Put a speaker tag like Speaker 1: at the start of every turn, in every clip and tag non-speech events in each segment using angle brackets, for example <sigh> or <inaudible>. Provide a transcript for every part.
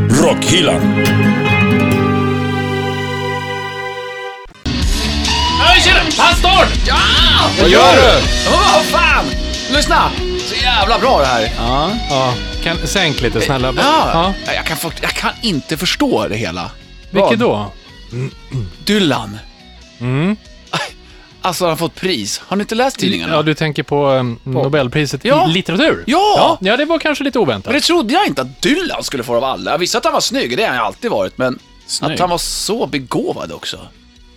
Speaker 1: Rockhyllan.
Speaker 2: Hej tjena! Pastorn! Ja!
Speaker 3: Vad gör du?
Speaker 2: Vad fan! Lyssna! Så jävla bra det här.
Speaker 3: Ja.
Speaker 4: Ja, kan, sänk lite snälla.
Speaker 2: Ja. Jag, kan, fort- jag kan inte förstå det hela.
Speaker 4: Vilket då?
Speaker 2: Dylan. Mm. Alltså, han har fått pris. Har ni inte läst tidningarna?
Speaker 4: Ja, du tänker på um, Nobelpriset
Speaker 2: Ja.
Speaker 4: i litteratur?
Speaker 2: Ja.
Speaker 4: ja! Ja, det var kanske lite oväntat.
Speaker 2: Men det trodde jag inte att Dylan skulle få av alla. Jag visste att han var snygg, det har han alltid varit, men att han var så begåvad också.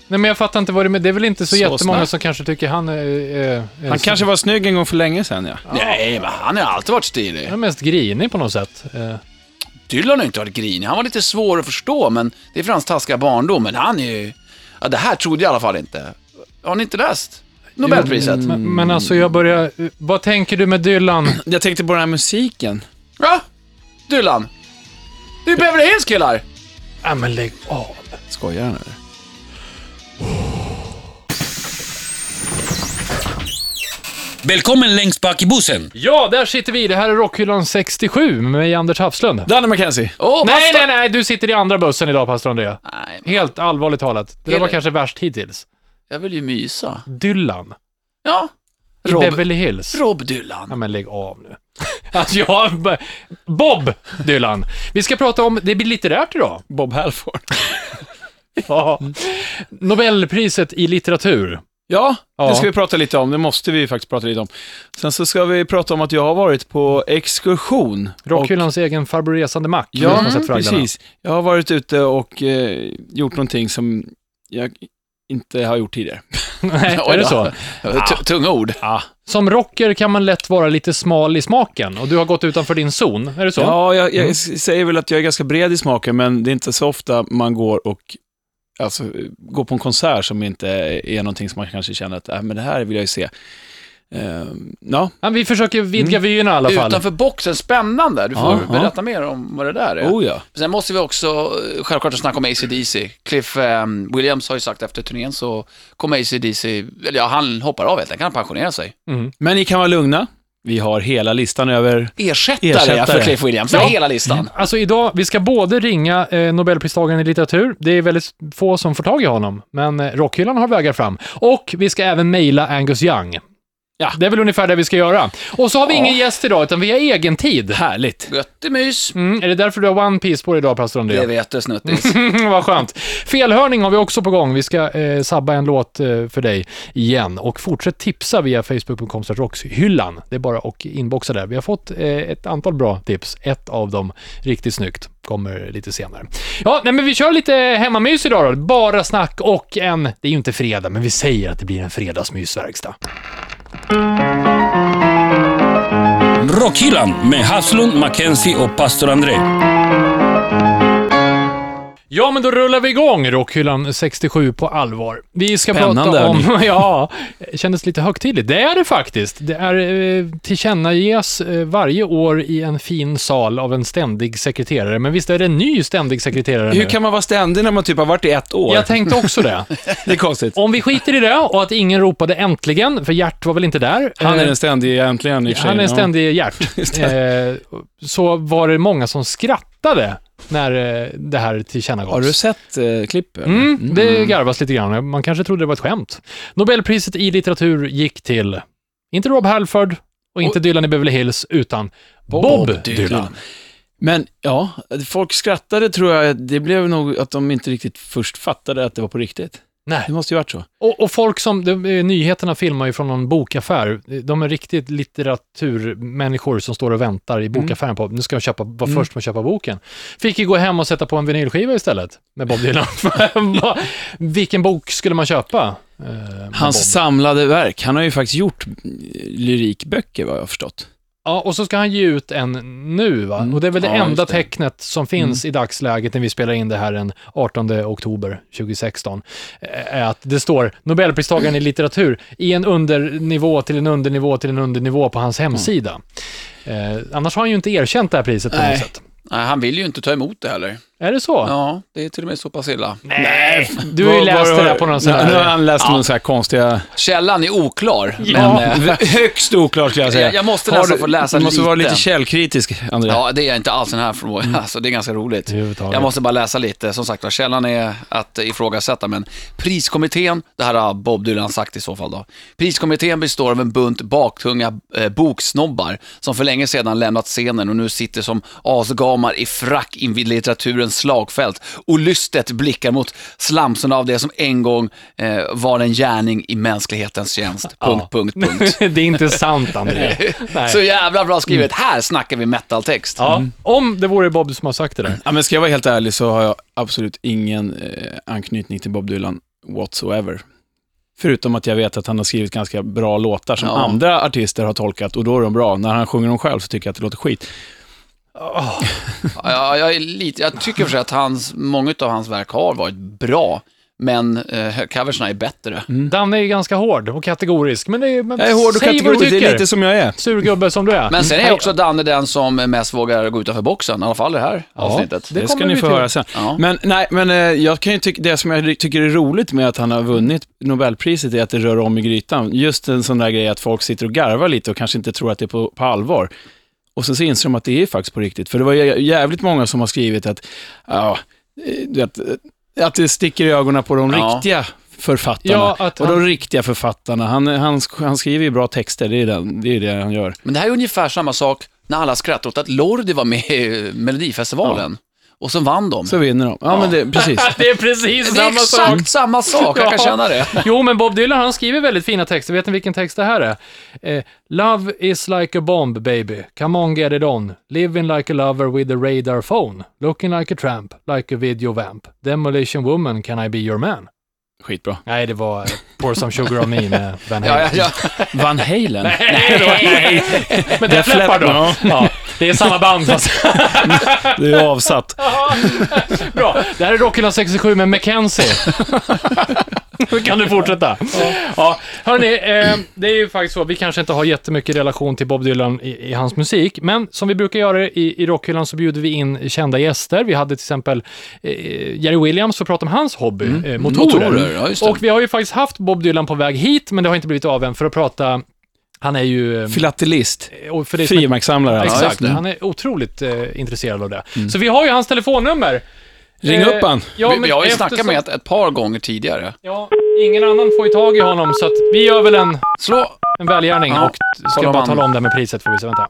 Speaker 4: Nej, men jag fattar inte vad det men Det är väl inte så,
Speaker 3: Så
Speaker 4: jättemånga
Speaker 3: snabbt.
Speaker 4: som kanske tycker han är... är, är
Speaker 3: Han
Speaker 4: så-
Speaker 3: kanske var snygg en gång för länge sedan ja.
Speaker 2: Nej, men han har alltid varit stilig.
Speaker 4: Han är mest grinig på något sätt. Eh,
Speaker 2: Dylan har inte varit grinig. Han var lite svår att förstå, men det är för hans taskiga barndom. Men han är ju... Ja, det här trodde jag i alla fall inte. Har ni inte läst Nobelpriset?
Speaker 4: Men, men alltså, jag börjar... Vad tänker du med Dylan?
Speaker 3: Jag tänkte på den här musiken.
Speaker 2: Va? Dylan? Det är ju Beverly Hills killar!
Speaker 4: Ja, men lägg av.
Speaker 3: Skojar han eller?
Speaker 1: Välkommen längst bak i bussen.
Speaker 4: Ja, där sitter vi. Det här är Rockhyllan 67 med mig, Anders Hafslund.
Speaker 3: Danny McKenzie.
Speaker 2: Åh,
Speaker 4: nej,
Speaker 2: pastor-
Speaker 4: nej, nej. Du sitter i andra bussen idag, pastor André.
Speaker 2: nej! men
Speaker 4: Helt allvarligt talat. Det där
Speaker 2: Är
Speaker 4: var
Speaker 2: det?
Speaker 4: kanske värst hittills.
Speaker 2: Jag vill ju mysa.
Speaker 4: Dylan.
Speaker 2: Ja.
Speaker 4: I
Speaker 2: Rob,
Speaker 4: Beverly Hills.
Speaker 2: Rob Dylan.
Speaker 4: Ja, men lägg av nu. <laughs> Alltså, jag... Bob Dylan. Vi ska prata om... Det blir litterärt idag.
Speaker 3: Bob Halford.
Speaker 4: Ja. Nobelpriset i litteratur.
Speaker 3: Ja,
Speaker 4: Ja.
Speaker 3: det ska vi prata lite om. Det måste vi faktiskt prata lite om. Sen så ska vi prata om att jag har varit på exkursion.
Speaker 4: Rockhyllans egen farbror resande mack. ni som
Speaker 3: Ja,
Speaker 4: har sett Fraglarna.
Speaker 3: precis. Jag har varit ute och eh, gjort någonting som jag inte har gjort tidigare.
Speaker 4: <laughs> Nej,
Speaker 2: Oj
Speaker 4: är det
Speaker 2: då.
Speaker 4: så?
Speaker 2: T- Tunga ord.
Speaker 4: Som rocker kan man lätt vara lite smal i smaken och du har gått utanför din zon. Är det så?
Speaker 3: Ja, jag, jag s- säger väl att jag är ganska bred i smaken, men det är inte så ofta man går och alltså, går på en konsert som inte är någonting som man kanske känner att äh, men det här vill jag ju se. Ehm, ja,
Speaker 4: Men vi försöker vidga vyerna i alla fall.
Speaker 2: Utanför boxen, spännande. Du får
Speaker 3: Ja, ja.
Speaker 2: berätta mer om vad det där är.
Speaker 3: oh ja.
Speaker 2: Sen måste vi också eh, självklart snacka om AC/DC. Cliff eh, Williams har ju sagt efter turnén så kommer AC/DC, eller ja, han hoppar av helt enkelt, han pensionerar sig.
Speaker 3: Men ni kan vara lugna. Vi har hela listan över...
Speaker 2: Ersättare,
Speaker 3: Ersättare.
Speaker 2: för Cliff Williams, ja. hela listan.
Speaker 4: Alltså idag, vi ska både ringa eh, Nobelpristagaren i litteratur, det är väldigt få som får tag i honom, men eh, rockhyllan har vägar fram. Och vi ska även mejla Angus Young.
Speaker 3: Ja.
Speaker 4: Det är väl ungefär det vi ska göra. Och så har vi ingen gäst idag, utan vi har egen tid.
Speaker 3: Härligt.
Speaker 2: Göttemys.
Speaker 4: Mm, är det därför du har One Piece på dig idag, pastor
Speaker 2: Det
Speaker 4: André?
Speaker 2: vet du snuttis.
Speaker 4: <laughs> Vad skönt. Felhörning har vi också på gång. Vi ska eh, sabba en låt eh, för dig igen. Och fortsätt tipsa via facebook.com rockshyllan. Det är bara att inboxa där. Vi har fått eh, ett antal bra tips. Ett av dem riktigt snyggt. Kommer lite senare. Ja, nej, men vi kör lite hemmamys idag då. Bara snack och en... Det är ju inte fredag, men vi säger att det blir en fredagsmysverkstad.
Speaker 1: Rockhyllan med Haslund, Mackenzie och pastor André.
Speaker 4: Ja, men då rullar vi igång Rockhyllan 67 på allvar. Vi ska
Speaker 3: Spännande,
Speaker 4: prata om... <laughs> ja, kändes lite högtidligt. Det är det faktiskt. Det är eh, tillkännages eh, varje år i en fin sal av en ständig sekreterare. Men visst är det en ny ständig sekreterare nu?
Speaker 3: Hur kan man vara ständig när man typ har varit i ett år?
Speaker 4: Jag tänkte också det.
Speaker 3: <laughs> Det är konstigt.
Speaker 4: Om vi skiter i det och att ingen ropade äntligen, för Gert var väl inte där.
Speaker 3: Han är
Speaker 4: Eh,
Speaker 3: den ständige egentligen i och för sig.
Speaker 4: han är en
Speaker 3: Ja.
Speaker 4: ständig Gert. Eh,
Speaker 3: <laughs>
Speaker 4: så var det många som skrattade när eh, det här tillkännagavs.
Speaker 3: Har du sett eh, klippet?
Speaker 4: Mm, det garvas lite grann. Man kanske trodde det var ett skämt. Nobelpriset i litteratur gick till, inte Rob Halford och inte Dylan i Beverly Hills, utan Bob, Dylan.
Speaker 3: Men ja, folk skrattade tror jag. Det blev nog att de inte riktigt först fattade att det var på riktigt.
Speaker 4: Nej.
Speaker 3: Det måste ju varit så.
Speaker 4: Och, och folk som, de, eh, nyheterna filmar ju från någon bokaffär. De är riktigt litteraturmänniskor som står och väntar i bokaffären på, nu ska jag köpa, vara först med att köpa boken. Fick ju gå hem och sätta på en vinylskiva istället med Bob Dylan. <laughs> Vad- Vilken bok skulle man köpa? eh, med
Speaker 3: Hans
Speaker 4: Bob?
Speaker 3: samlade verk. Han har ju faktiskt gjort eh, lyrikböcker, vad jag har förstått.
Speaker 4: Ja, och så ska han ge ut en nu, va? Och det är väl det
Speaker 3: Ja,
Speaker 4: enda
Speaker 3: just det.
Speaker 4: tecknet som finns i dagsläget när vi spelar in det här den 18 oktober 2016. eh, Är att det står Nobelpristagaren i litteratur i en undernivå till en undernivå till en undernivå på hans hemsida. Eh, annars har han ju inte erkänt det här priset på
Speaker 3: Nej.
Speaker 4: något sätt.
Speaker 2: Nej, han vill ju inte ta emot det heller.
Speaker 4: Är det så?
Speaker 2: Ja, det är till och med så pass illa.
Speaker 4: Nej, du har ju
Speaker 3: Vad-
Speaker 4: läst
Speaker 3: vad-
Speaker 4: det där på någon sån
Speaker 3: Nu har
Speaker 4: här...
Speaker 3: han läst någon sån här konstiga...
Speaker 2: Källan är oklar,
Speaker 3: Ja,
Speaker 2: men... eh,
Speaker 3: <laughs> högst oklart skulle jag säga.
Speaker 2: Jag- jag måste
Speaker 3: Har
Speaker 2: nästan
Speaker 3: du-
Speaker 2: få läsa
Speaker 3: Du måste vara
Speaker 2: lite.
Speaker 3: lite källkritisk, André.
Speaker 2: Ja, det är jag inte alls den här frågan. <laughs> Alltså, det är ganska roligt.
Speaker 4: Överhuvudtaget.
Speaker 2: Jag måste bara läsa lite. Som sagt var, källan är att ifrågasätta, men priskommittén, det här har Bob Dylan sagt i så fall då. Priskommittén består av en bunt baktunga eh, boksnobbar som för länge sedan lämnat scenen och nu sitter som asgamar i frack invid litteraturens slagfält och lystet blickar mot slamsorna av det som en gång eh, var en gärning i mänsklighetens tjänst. Punkt, punkt, punkt.
Speaker 4: det är inte sant, André. <laughs> Nej.
Speaker 2: Så jävla bra skrivet. Här snackar vi metaltext.
Speaker 4: Ja, om det vore Bob som har sagt det där.
Speaker 3: Ja, men ska jag vara helt ärlig så har jag absolut ingen eh, anknytning till Bob Dylan whatsoever. Förutom att jag vet att han har skrivit ganska bra låtar som
Speaker 2: Ja.
Speaker 3: andra artister har tolkat och då är de bra. När han sjunger dem själv så tycker jag att det låter skit.
Speaker 2: Ja, jag, är lite, jag tycker för sig att hans, många av hans verk har varit bra, men eh, coversna är bättre.
Speaker 4: Danne är ju ganska hård och kategorisk, men, det är, men
Speaker 3: Jag är hård och
Speaker 4: säg vad du
Speaker 3: kategorisk, det är
Speaker 4: tycker.
Speaker 3: lite som jag är.
Speaker 4: Surgubbe som du är.
Speaker 2: Men sen är
Speaker 4: Nej,
Speaker 2: också Danne den som mest vågar gå utanför boxen, i alla fall i det här avsnittet.
Speaker 4: det-
Speaker 3: Det ska
Speaker 4: kommer
Speaker 3: ni
Speaker 4: vi
Speaker 3: få
Speaker 4: till.
Speaker 3: höra sen.
Speaker 2: Ja.
Speaker 3: Men, nej, men eh, jag kan ju tycka, det som jag tycker är roligt med att han har vunnit Nobelpriset är att det rör om i grytan. Just en sån där grej att folk sitter och garvar lite och kanske inte tror att det är på, på allvar. Och sen så inser de att det är faktiskt på riktigt. För det var jä- jävligt många som har skrivit att, ja, eh, du vet, eh, att det sticker i ögonen på de
Speaker 2: Ja.
Speaker 3: riktiga författarna.
Speaker 4: Ja, att
Speaker 3: och de
Speaker 4: han-
Speaker 3: riktiga författarna, han, han, sk- han skriver ju bra texter, det är, den, det är det han gör.
Speaker 2: Men det här är ungefär samma sak när alla skrattade åt att Lordi var med i Melodifestivalen. Och sen vann de.
Speaker 3: Så
Speaker 4: Mm.
Speaker 3: vinner de. Ja, men
Speaker 4: <laughs>
Speaker 3: det, precis.
Speaker 4: <laughs> Det är precis
Speaker 2: det är
Speaker 4: samma sak.
Speaker 2: exakt samma sak, jag kan
Speaker 4: Ja.
Speaker 2: känna det.
Speaker 4: <laughs> Jo, men Bob Dylan han skriver väldigt fina texter. Vet ni vilken text det här är? Eh, Love is like a bomb, baby. Come on, get it on. Living like a lover with a radar phone. Looking like a tramp, like a video vamp. Demolition woman, can I be your man?
Speaker 3: Skitbra.
Speaker 4: Nej, det var eh, Pour some sugar on me med Van
Speaker 2: Ja, ja,
Speaker 4: Halen. <laughs>
Speaker 2: ja.
Speaker 3: Van Halen.
Speaker 2: <laughs>
Speaker 4: Nej, men det fläppar då.
Speaker 3: Ja.
Speaker 4: Ja, det är samma band fast.
Speaker 3: Det är avsatt.
Speaker 4: <laughs> Bra. Det här är Rockhyllan 67
Speaker 2: <laughs>
Speaker 4: med Mackenzie. Nu kan du fortsätta. Ja. Hörni, eh, det är ju faktiskt så, vi kanske inte har jättemycket relation till Bob Dylan i, i hans musik, men som vi brukar göra i, i Rockhyllan så bjuder vi in kända gäster. Vi hade till exempel eh, Jerry Williams för att prata om hans hobby, eh, motorer.
Speaker 2: Mm. Motorer, ja, just det.
Speaker 4: Och vi har ju faktiskt haft Bob Dylan på väg hit, men det har inte blivit av än för att prata han är ju... eh,
Speaker 3: Filatelist.
Speaker 4: och för dig som inte-
Speaker 3: Frimärkssamlare. alltså.
Speaker 2: Ja, just
Speaker 4: Exakt,
Speaker 2: det. Mm.
Speaker 4: han är otroligt eh, intresserad av det. Så vi har ju hans telefonnummer.
Speaker 3: Ring upp han.
Speaker 4: Eh, Ja,
Speaker 2: Vi- vi har ju
Speaker 4: eftersom-
Speaker 2: snackat med ett, ett par gånger tidigare.
Speaker 4: Ja, ingen annan får ju tag i honom, så att vi gör väl en,
Speaker 2: Slå,
Speaker 4: en välgärning
Speaker 2: Ja,
Speaker 4: och ska
Speaker 2: kolla om
Speaker 4: bara
Speaker 2: han-
Speaker 4: tala om det här med priset, får vi se. Vänta.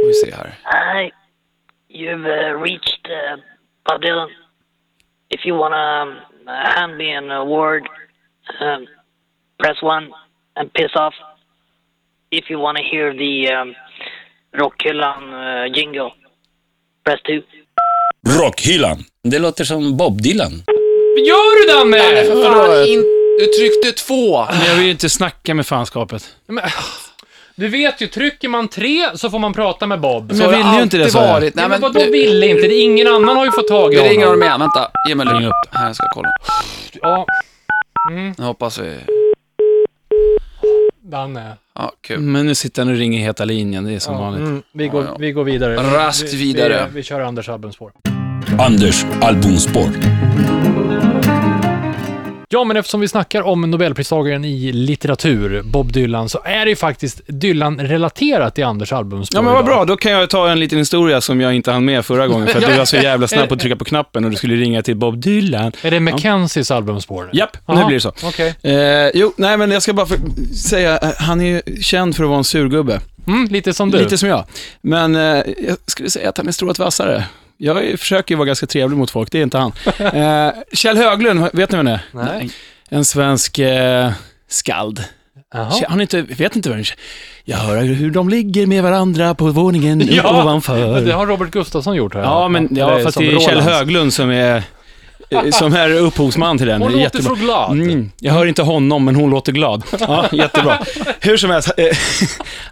Speaker 2: får vi se här.
Speaker 5: Hi, you've uh, reached uh, Bob Dylan. If you want to um, hand me an award, um, press one and piss off. If you want to hear the um, Rockhyllan uh, jingle, press two.
Speaker 1: Rockhyllan. Det låter som Bob Dylan.
Speaker 4: Gör du Danne?
Speaker 2: För fan, in, du tryckte två.
Speaker 3: Men jag vill ju inte snacka med fanskapet.
Speaker 4: Men, Du vet ju, trycker man tre så får man prata med Bob.
Speaker 3: Men jag
Speaker 2: Det
Speaker 3: vill
Speaker 2: har
Speaker 3: ju inte det,
Speaker 2: alltid
Speaker 3: sa jag.
Speaker 2: varit. Nej,
Speaker 4: men
Speaker 2: men,
Speaker 4: vadå ville inte? Det är Ingen annan har ju fått tag i
Speaker 2: Vi ringer
Speaker 4: honom.
Speaker 2: honom igen, vänta. Ge mig
Speaker 3: Ring
Speaker 2: lugn.
Speaker 3: upp.
Speaker 2: Här, jag ska kolla.
Speaker 4: Ja,
Speaker 2: Nu hoppas vi...
Speaker 4: Danne.
Speaker 2: Ja, kul.
Speaker 3: Men nu sitter han och ringer heta linjen, det är som
Speaker 4: Ja,
Speaker 3: vanligt.
Speaker 4: mm, vi, går,
Speaker 2: Ja, ja.
Speaker 4: vi går vidare.
Speaker 2: Raskt
Speaker 4: Vi-
Speaker 2: vidare.
Speaker 4: Vi, vi, vi kör Anders albumspår.
Speaker 1: Anders albumspår.
Speaker 4: Ja, men eftersom vi snackar om Nobelpristagaren i litteratur, Bob Dylan, så är det ju faktiskt Dylan-relaterat i Anders albumspår
Speaker 3: Ja men vad
Speaker 4: idag.
Speaker 3: bra, då kan jag ta en liten historia som jag inte hann med förra gången för att du var så jävla snabb på att trycka på knappen och du skulle ringa till Bob Dylan.
Speaker 4: Är det Mackenzies albumspår nu?
Speaker 3: Japp, nu
Speaker 4: Aha,
Speaker 3: blir det så.
Speaker 4: Okej.
Speaker 3: Eh, jo, nej men jag ska bara för- säga, eh, han är ju känd för att vara en surgubbe.
Speaker 4: Mm, lite som du.
Speaker 3: Lite som jag. Men eh, jag skulle säga att han är strået vassare. Jag är- försöker ju vara ganska trevlig mot folk, det är
Speaker 4: <laughs>
Speaker 3: inte han. Eh, Kjell Höglund, vet ni vem det är?
Speaker 4: Nej.
Speaker 3: En svensk eh, skald.
Speaker 4: Jaha.
Speaker 3: Han är inte, vet inte vem Jag hör hur de ligger med varandra på våningen
Speaker 4: <laughs> Ja, Det
Speaker 3: ovanför.
Speaker 4: har Robert Gustafsson gjort, har jag
Speaker 3: Ja,
Speaker 4: hört.
Speaker 3: men ja,
Speaker 4: Eller
Speaker 3: fast
Speaker 4: som
Speaker 3: det är Kjell
Speaker 4: Rolands.
Speaker 3: Höglund som är,
Speaker 4: <laughs>
Speaker 3: eh, som är upphovsman till den.
Speaker 4: Hon
Speaker 3: Det är
Speaker 4: låter så glad.
Speaker 3: Mm, jag hör inte honom, men hon låter glad.
Speaker 4: <laughs>
Speaker 3: Ja, jättebra. Hur som helst, eh,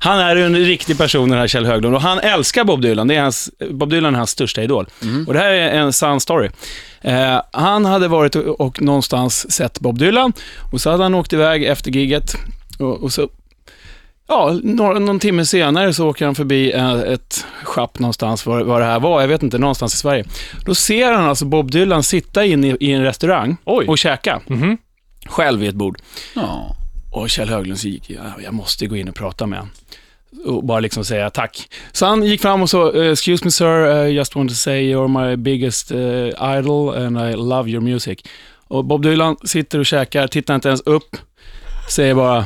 Speaker 3: han är ju en riktig person den här Kjell Höglund och han älskar Bob Dylan. Det är hans, Bob Dylan är hans största idol.
Speaker 4: Mm.
Speaker 3: Och det här är en sann story. Eh, han hade varit och, och någonstans sett Bob Dylan och så hade han åkt iväg efter gigget och, och så Ja, några, någon timme senare så åker han förbi eh, ett schapp någonstans, var, var det här var, jag vet inte, någonstans i Sverige. Då ser han alltså Bob Dylan sitta inne i, i en restaurang
Speaker 4: Oj.
Speaker 3: och käka,
Speaker 4: Mhm.
Speaker 3: själv vid ett bord.
Speaker 2: Ja.
Speaker 3: Och Kjell Höglund så gick, ja, jag måste gå in och prata med honom. Och bara liksom säga tack. Så han gick fram och så, eh, excuse me sir, I just want to say you're my biggest eh, idol and I love your music. Och Bob Dylan sitter och käkar, tittar inte ens upp, säger bara,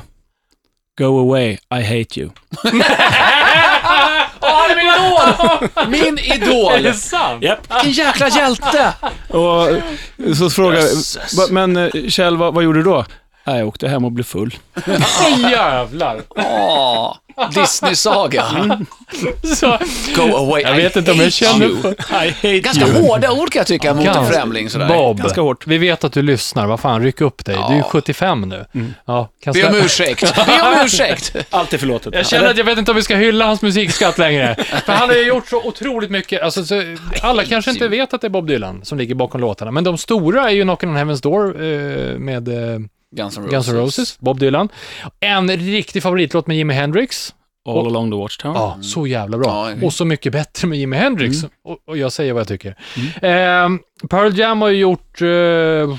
Speaker 3: go away, I hate you.
Speaker 2: min idol! <laughs> Min idol!
Speaker 4: sant?
Speaker 2: Vilken jäkla
Speaker 4: <laughs>
Speaker 2: hjälte!
Speaker 3: Och eh, så frågar
Speaker 2: Jösses.
Speaker 3: jag, men eh, Kjell, vad, vad gjorde du då? Nej, jag åkte hem och blev full.
Speaker 4: Jävlar.
Speaker 2: Åh, Disney-saga.
Speaker 4: <laughs> Så,
Speaker 2: Go away,
Speaker 4: jag vet inte om jag känner för...
Speaker 3: <laughs> I hate
Speaker 2: Ganska hårda ord kan jag tycka mot en främling sådär.
Speaker 4: Bob,
Speaker 3: Ganska hårt.
Speaker 4: vi vet att du lyssnar. Vad fan, ryck upp dig. Du är ju 75 nu.
Speaker 3: Mm.
Speaker 4: Ja, kan
Speaker 2: Be om
Speaker 4: slä- <laughs>
Speaker 2: ursäkt. Be om ursäkt.
Speaker 3: Allt är förlåtet.
Speaker 4: Jag känner att jag vet inte om vi ska hylla hans musikskatt längre. För han har ju gjort så otroligt mycket. Alltså, så, alla kanske inte vet att det är Bob Dylan som ligger bakom låtarna. Men de stora är ju Knockin' on Heaven's Door eh, med eh,
Speaker 2: Guns N' Roses.
Speaker 4: Guns N' Roses, Bob Dylan. En riktig favoritlåt med Jimi Hendrix.
Speaker 3: All along the watchtower.
Speaker 4: Ja, så jävla bra.
Speaker 2: Ja, det-
Speaker 4: och så mycket bättre med Jimi Hendrix. Och, och jag säger vad jag tycker. Ehm, Pearl Jam har ju gjort eh,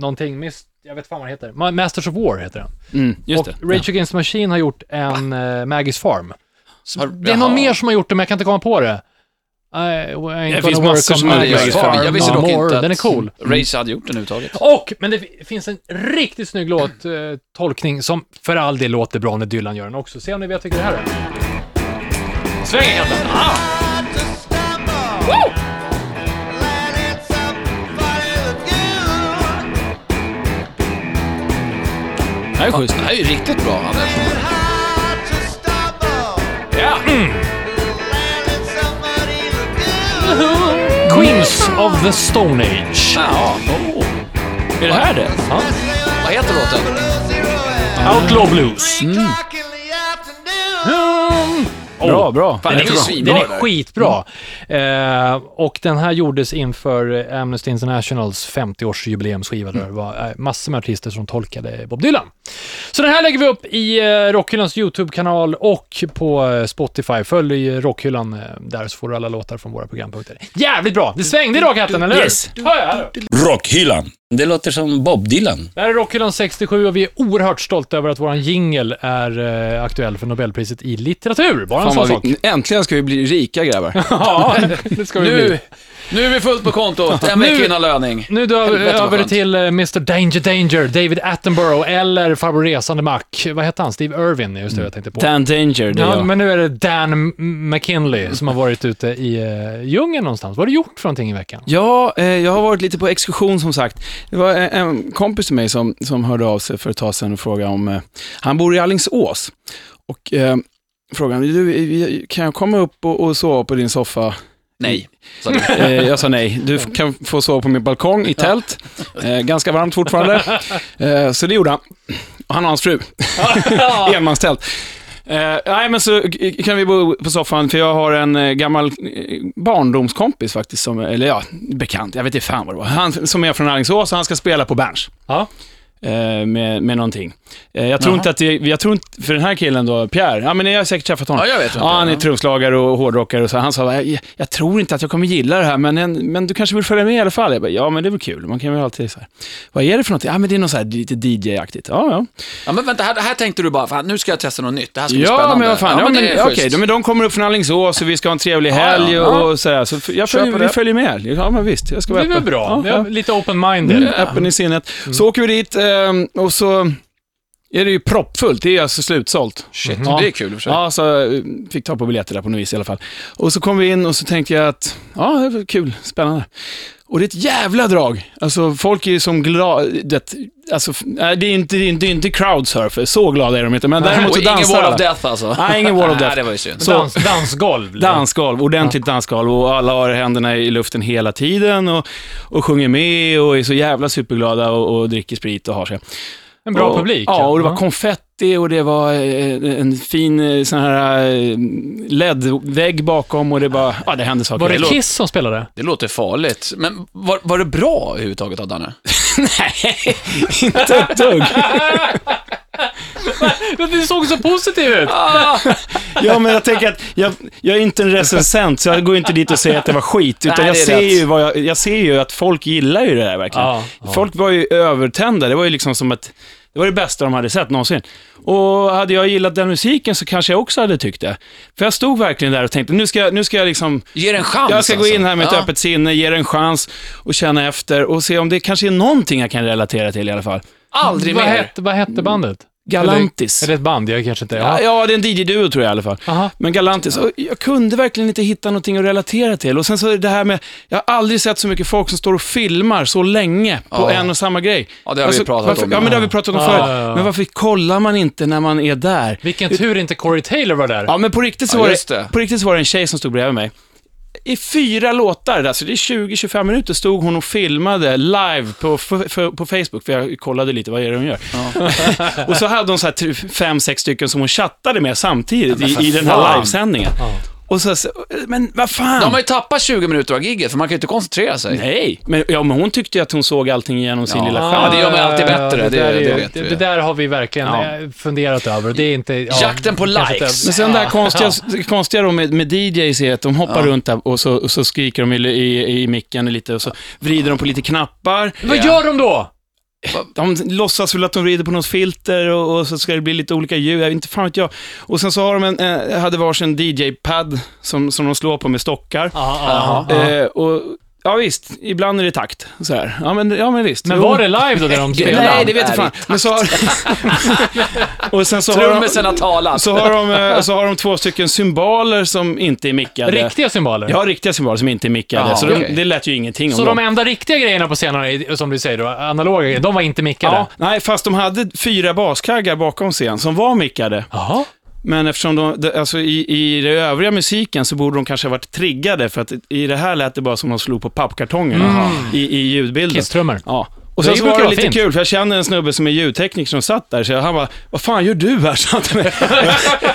Speaker 4: någonting, mis- jag vet fan vad den heter. Ma- Masters of War heter den.
Speaker 3: Mm, just det.
Speaker 4: och Rage Against the Machine har gjort en eh, Maggie's Farm. Så
Speaker 2: Har-
Speaker 4: det är
Speaker 2: Jaha.
Speaker 4: någon mer som har gjort det, men jag kan inte komma på det. I, det
Speaker 3: Det finns massor som har gjort Maggie's Farm.
Speaker 2: Jag visste dock inte att
Speaker 4: Den är cool.
Speaker 2: Race hade gjort den överhuvudtaget.
Speaker 4: Och, men det fi- finns en riktigt snygg låt, eh, tolkning som för all del låter bra när Dylan gör den också. Se om ni vet vilken det här är. Sväng igen den. Ah!
Speaker 3: Det här är schysst.
Speaker 2: Det här är ju riktigt bra, Anders.
Speaker 4: Mm. Queens of the Stone Age.
Speaker 2: Ja.
Speaker 3: Är det här det?
Speaker 2: Vad heter låten?
Speaker 4: Outlaw Blues.
Speaker 3: Bra, bra.
Speaker 2: Fan, den är ju
Speaker 4: Den
Speaker 2: svinbra.
Speaker 4: är skitbra. Eh, och den här gjordes inför eh, Amnesty Internationals 50-årsjubileumsskiva. där Det var eh, massor med artister som tolkade Bob Dylan. Så den här lägger vi upp i eh, Rockhyllans YouTube-kanal och på eh, Spotify. Följ eh, Rockhyllan eh, där så får du alla låtar från våra programpunkter. Jävligt bra! Det svängde idag katten, eller hur?
Speaker 3: Yes.
Speaker 4: Hör jag, hör du?
Speaker 1: Rockhyllan. Det låter som Bob Dylan.
Speaker 4: Det här är Rockhyllan 67 och vi är oerhört stolta över att våran jingel är eh, aktuell för Nobelpriset i litteratur. Bara en
Speaker 3: Fan
Speaker 4: sån
Speaker 3: vad
Speaker 4: sak.
Speaker 3: vi, äntligen ska vi bli rika grabbar.
Speaker 4: <laughs> Ja, det ska vi bli.
Speaker 2: Nu, nu är vi fullt på
Speaker 3: <laughs>
Speaker 2: kontot. En vecka löning.
Speaker 4: Nu drar vi
Speaker 2: Helvete, vad
Speaker 4: över
Speaker 2: skönt.
Speaker 4: till eh, Mr Danger Danger, David Attenborough eller farbror resande Mac. Vad hette han? Steve Irwin, just det jag tänkte på.
Speaker 3: Dan Danger, det är
Speaker 4: Mm. Ja,
Speaker 3: jag.
Speaker 4: men nu är det Dan M- McKinley som har varit ute i uh, djungeln någonstans. Vad har du gjort för någonting i veckan?
Speaker 3: Ja, eh, jag har varit lite på exkursion som sagt. Det var en, en kompis till mig som, som hörde av sig för ett tag sedan och frågade om... Eh, han bor i Alingsås och eh, frågade, du, eh, kan jag komma upp och, och sova på din soffa?
Speaker 2: Nej, sa du.
Speaker 3: Eh, jag sa nej. Du f- kan få sova på min balkong i tält. Eh, ganska varmt fortfarande. Eh, så det gjorde han. Och han och
Speaker 2: <laughs>
Speaker 3: hans fru. Enmanstält. Eh, nej, men så k- kan vi bo på soffan, för jag har en eh, gammal eh, barndomskompis faktiskt, som, eller ja, bekant, jag vet inte fan vad det var. Han som är från Alingsås och han ska spela på Berns
Speaker 4: Ja.
Speaker 3: eh, med, med någonting. Eh, jag tror inte att det, jag tror inte, för den här killen då, Pierre, ja men jag har säkert träffat honom.
Speaker 2: Ja, jag vet vem
Speaker 3: ja,
Speaker 2: det är,
Speaker 3: han är
Speaker 2: ja.
Speaker 3: trumslagare och hårdrockare och så. Han sa, jag, jag tror inte att jag kommer gilla det här, men, en, men du kanske vill följa med i alla fall? Jag bara, ja men det är väl kul, man kan väl alltid så här. Vad är det för någonting? Ja men det är något så här lite DJ-aktigt. Ja, ja.
Speaker 2: Ja, men vänta, här, här tänkte du bara, fan, nu ska jag testa något nytt. Det här ska bli
Speaker 3: Ja,
Speaker 2: spännande.
Speaker 3: men vad fan. Ja, men,
Speaker 2: det är
Speaker 3: okej,
Speaker 2: schysst.
Speaker 3: de, men de kommer upp från Alingsås och vi ska ha en trevlig helg
Speaker 2: ja,
Speaker 3: och,
Speaker 2: ja.
Speaker 3: och sådär. Så f- jag
Speaker 2: Kör
Speaker 3: följer,
Speaker 2: på
Speaker 3: vi
Speaker 2: det.
Speaker 3: följer med. Ja, men visst. Jag ska
Speaker 4: Det
Speaker 3: vara
Speaker 4: är väl
Speaker 3: öppen.
Speaker 4: bra.
Speaker 3: Ja, ja.
Speaker 4: Lite open-minded.
Speaker 3: Öppen i sinnet.
Speaker 2: Mm.
Speaker 3: Så åker vi dit ehm, och så är det ju proppfullt. Det är alltså slutsålt.
Speaker 2: Shit,
Speaker 3: Ja.
Speaker 2: det är kul i och för sig.
Speaker 3: Mm. Ja, så eh, fick ta på biljetter där på något vis i alla fall. Och så kom vi in och så tänkte jag att, ja, det var kul, spännande. Och det är ett jävla drag. Alltså folk är ju som glada, det, alltså, f- nej, det är inte, det är inte, det är inte crowdsurfer, så glada är de inte, men däremot
Speaker 2: Och
Speaker 3: så
Speaker 2: ingen
Speaker 3: dansar
Speaker 2: Wall of
Speaker 3: alla.
Speaker 2: Death alltså.
Speaker 3: Nej, ingen Wall of Death.
Speaker 2: <laughs> Nej, det var ju synd.
Speaker 3: Så-
Speaker 4: Dans, dansgolv. liksom. blir det.
Speaker 3: Dansgolv, ordentligt dansgolv och alla har händerna i luften hela tiden och, och sjunger med och är så jävla superglada och, och dricker sprit och har sig.
Speaker 4: En bra
Speaker 3: och,
Speaker 4: publik.
Speaker 3: Ja, och det var konfetti och det var eh, en fin eh, sån här eh, LED-vägg bakom och det var, ja det hände saker.
Speaker 4: Var det
Speaker 3: låter-
Speaker 4: Kiss som spelade?
Speaker 2: Det låter farligt. Men var, var det bra överhuvudtaget av Danne?
Speaker 3: inte ett dugg.
Speaker 4: Du såg så positiv ut!
Speaker 3: Ja, men jag tänker att jag, jag är inte en recensent, så jag går inte dit och säger att det var skit. Utan
Speaker 2: Nej,
Speaker 3: jag,
Speaker 2: det är
Speaker 3: ser
Speaker 2: rätt.
Speaker 3: ju vad jag, jag ser ju att folk gillar ju det där verkligen.
Speaker 4: Ja,
Speaker 3: Folk var ju övertända. Det var ju liksom som att det var det bästa de hade sett någonsin. Och hade jag gillat den musiken så kanske jag också hade tyckt det. För jag stod verkligen där och tänkte, nu ska jag, nu ska jag liksom...
Speaker 2: Ge det en chans
Speaker 3: Jag ska gå
Speaker 2: alltså.
Speaker 3: in här med ett
Speaker 2: Ja.
Speaker 3: öppet sinne, ge det en chans och känna efter och se om det kanske är någonting jag kan relatera till i alla fall.
Speaker 2: Aldrig
Speaker 4: vad,
Speaker 2: mer.
Speaker 4: hette, vad hette bandet?
Speaker 3: Mm. Galantis.
Speaker 4: Är det ett band? Jag kanske inte...
Speaker 3: Ja,
Speaker 4: Ja.
Speaker 3: ja, det är en DJ-duo tror jag i alla fall.
Speaker 4: Aha.
Speaker 3: Men Galantis, och jag kunde verkligen inte hitta någonting att relatera till. Och sen så är det det här med, jag har aldrig sett så mycket folk som står och filmar så länge på
Speaker 2: Ja.
Speaker 3: en och samma grej. Alltså,
Speaker 2: Ja, det har vi pratat
Speaker 3: varför,
Speaker 2: om.
Speaker 3: Ja, men det har vi pratat om
Speaker 4: Ja,
Speaker 3: förut.
Speaker 4: ja, ja.
Speaker 3: Men varför kollar man inte när man är där?
Speaker 4: Vilken tur inte Corey Taylor var där.
Speaker 3: Ja, men på riktigt, så
Speaker 2: Ja,
Speaker 3: var det,
Speaker 2: just det.
Speaker 3: på riktigt så var det en tjej som stod bredvid mig. I fyra låtar, där, så det är 20-25 minuter, stod hon och filmade live på, f- f- på Facebook, för jag kollade lite, vad är det hon gör? <laughs> och så hade hon så här typ fem, sex stycken som hon chattade med samtidigt i, i den här
Speaker 2: fan.
Speaker 3: livesändningen. Och så, så, men vad fan?
Speaker 2: De har ju tappat 20 minuter av gigget för man kan ju inte koncentrera sig.
Speaker 3: Nej, men, ja, men hon tyckte ju att hon såg allting genom sin
Speaker 2: Ja.
Speaker 3: lilla
Speaker 2: Ja,
Speaker 3: skärm.
Speaker 2: det gör man alltid bättre, det-
Speaker 4: där, är-
Speaker 2: det vet vi.
Speaker 4: det där har vi verkligen
Speaker 2: Ja.
Speaker 4: eh, funderat över. Det är inte... Ja,
Speaker 2: Jakten på
Speaker 4: kanske
Speaker 2: likes.
Speaker 3: Men sen det här konstiga, det konstiga då med, med DJs är att de hoppar runt där och så, och så skriker de i, i, i micken lite och så vrider de på lite knappar.
Speaker 4: Vad gör de då?
Speaker 3: De låtsas väl att de vrider på något filter och, och så ska det bli lite olika ljud, jag vet inte fan vet jag. Och sen så har de en, eh, hade varsin DJ-pad som, som de slår på med stockar.
Speaker 4: Ja, ja, ja.
Speaker 3: Eh, och, ja visst, ibland är det takt. Så här. Ja, men, ja men visst.
Speaker 4: Men
Speaker 3: Jo.
Speaker 4: var det live då, där de spelade?
Speaker 3: Nej, det vet jag
Speaker 2: Är
Speaker 3: fan. Men så har, <laughs> och sen så har de,
Speaker 2: Trummisen har talat.
Speaker 3: så har, de, eh, så har de två stycken symboler som inte är mickade.
Speaker 4: Riktiga symboler?
Speaker 3: Jag har riktiga symboler som inte är mickade,
Speaker 2: Jaha,
Speaker 3: så de,
Speaker 2: okej.
Speaker 3: det lät ju ingenting om
Speaker 4: Så
Speaker 3: dem.
Speaker 4: de enda riktiga grejerna på scenen, är- som du säger då, analoga grejer, de var inte mickade?
Speaker 3: Ja, nej, fast de hade fyra baskaggar bakom scen som var mickade.
Speaker 4: Jaha.
Speaker 3: Men eftersom de, de- alltså i, i den övriga musiken så borde de kanske ha varit triggade, för att i det här lät det bara som de slog på pappkartonger i, i ljudbilden.
Speaker 4: Kisstrummor.
Speaker 3: Ja. Och
Speaker 4: Mm. Det är
Speaker 3: sen
Speaker 4: ju
Speaker 3: så var
Speaker 4: brukar
Speaker 3: det
Speaker 4: vara
Speaker 3: lite
Speaker 4: fint.
Speaker 3: kul, för jag känner en snubbe som är ljudtekniker som satt där, så jag, han bara, vad fan gör du här? <laughs> sa han till mig.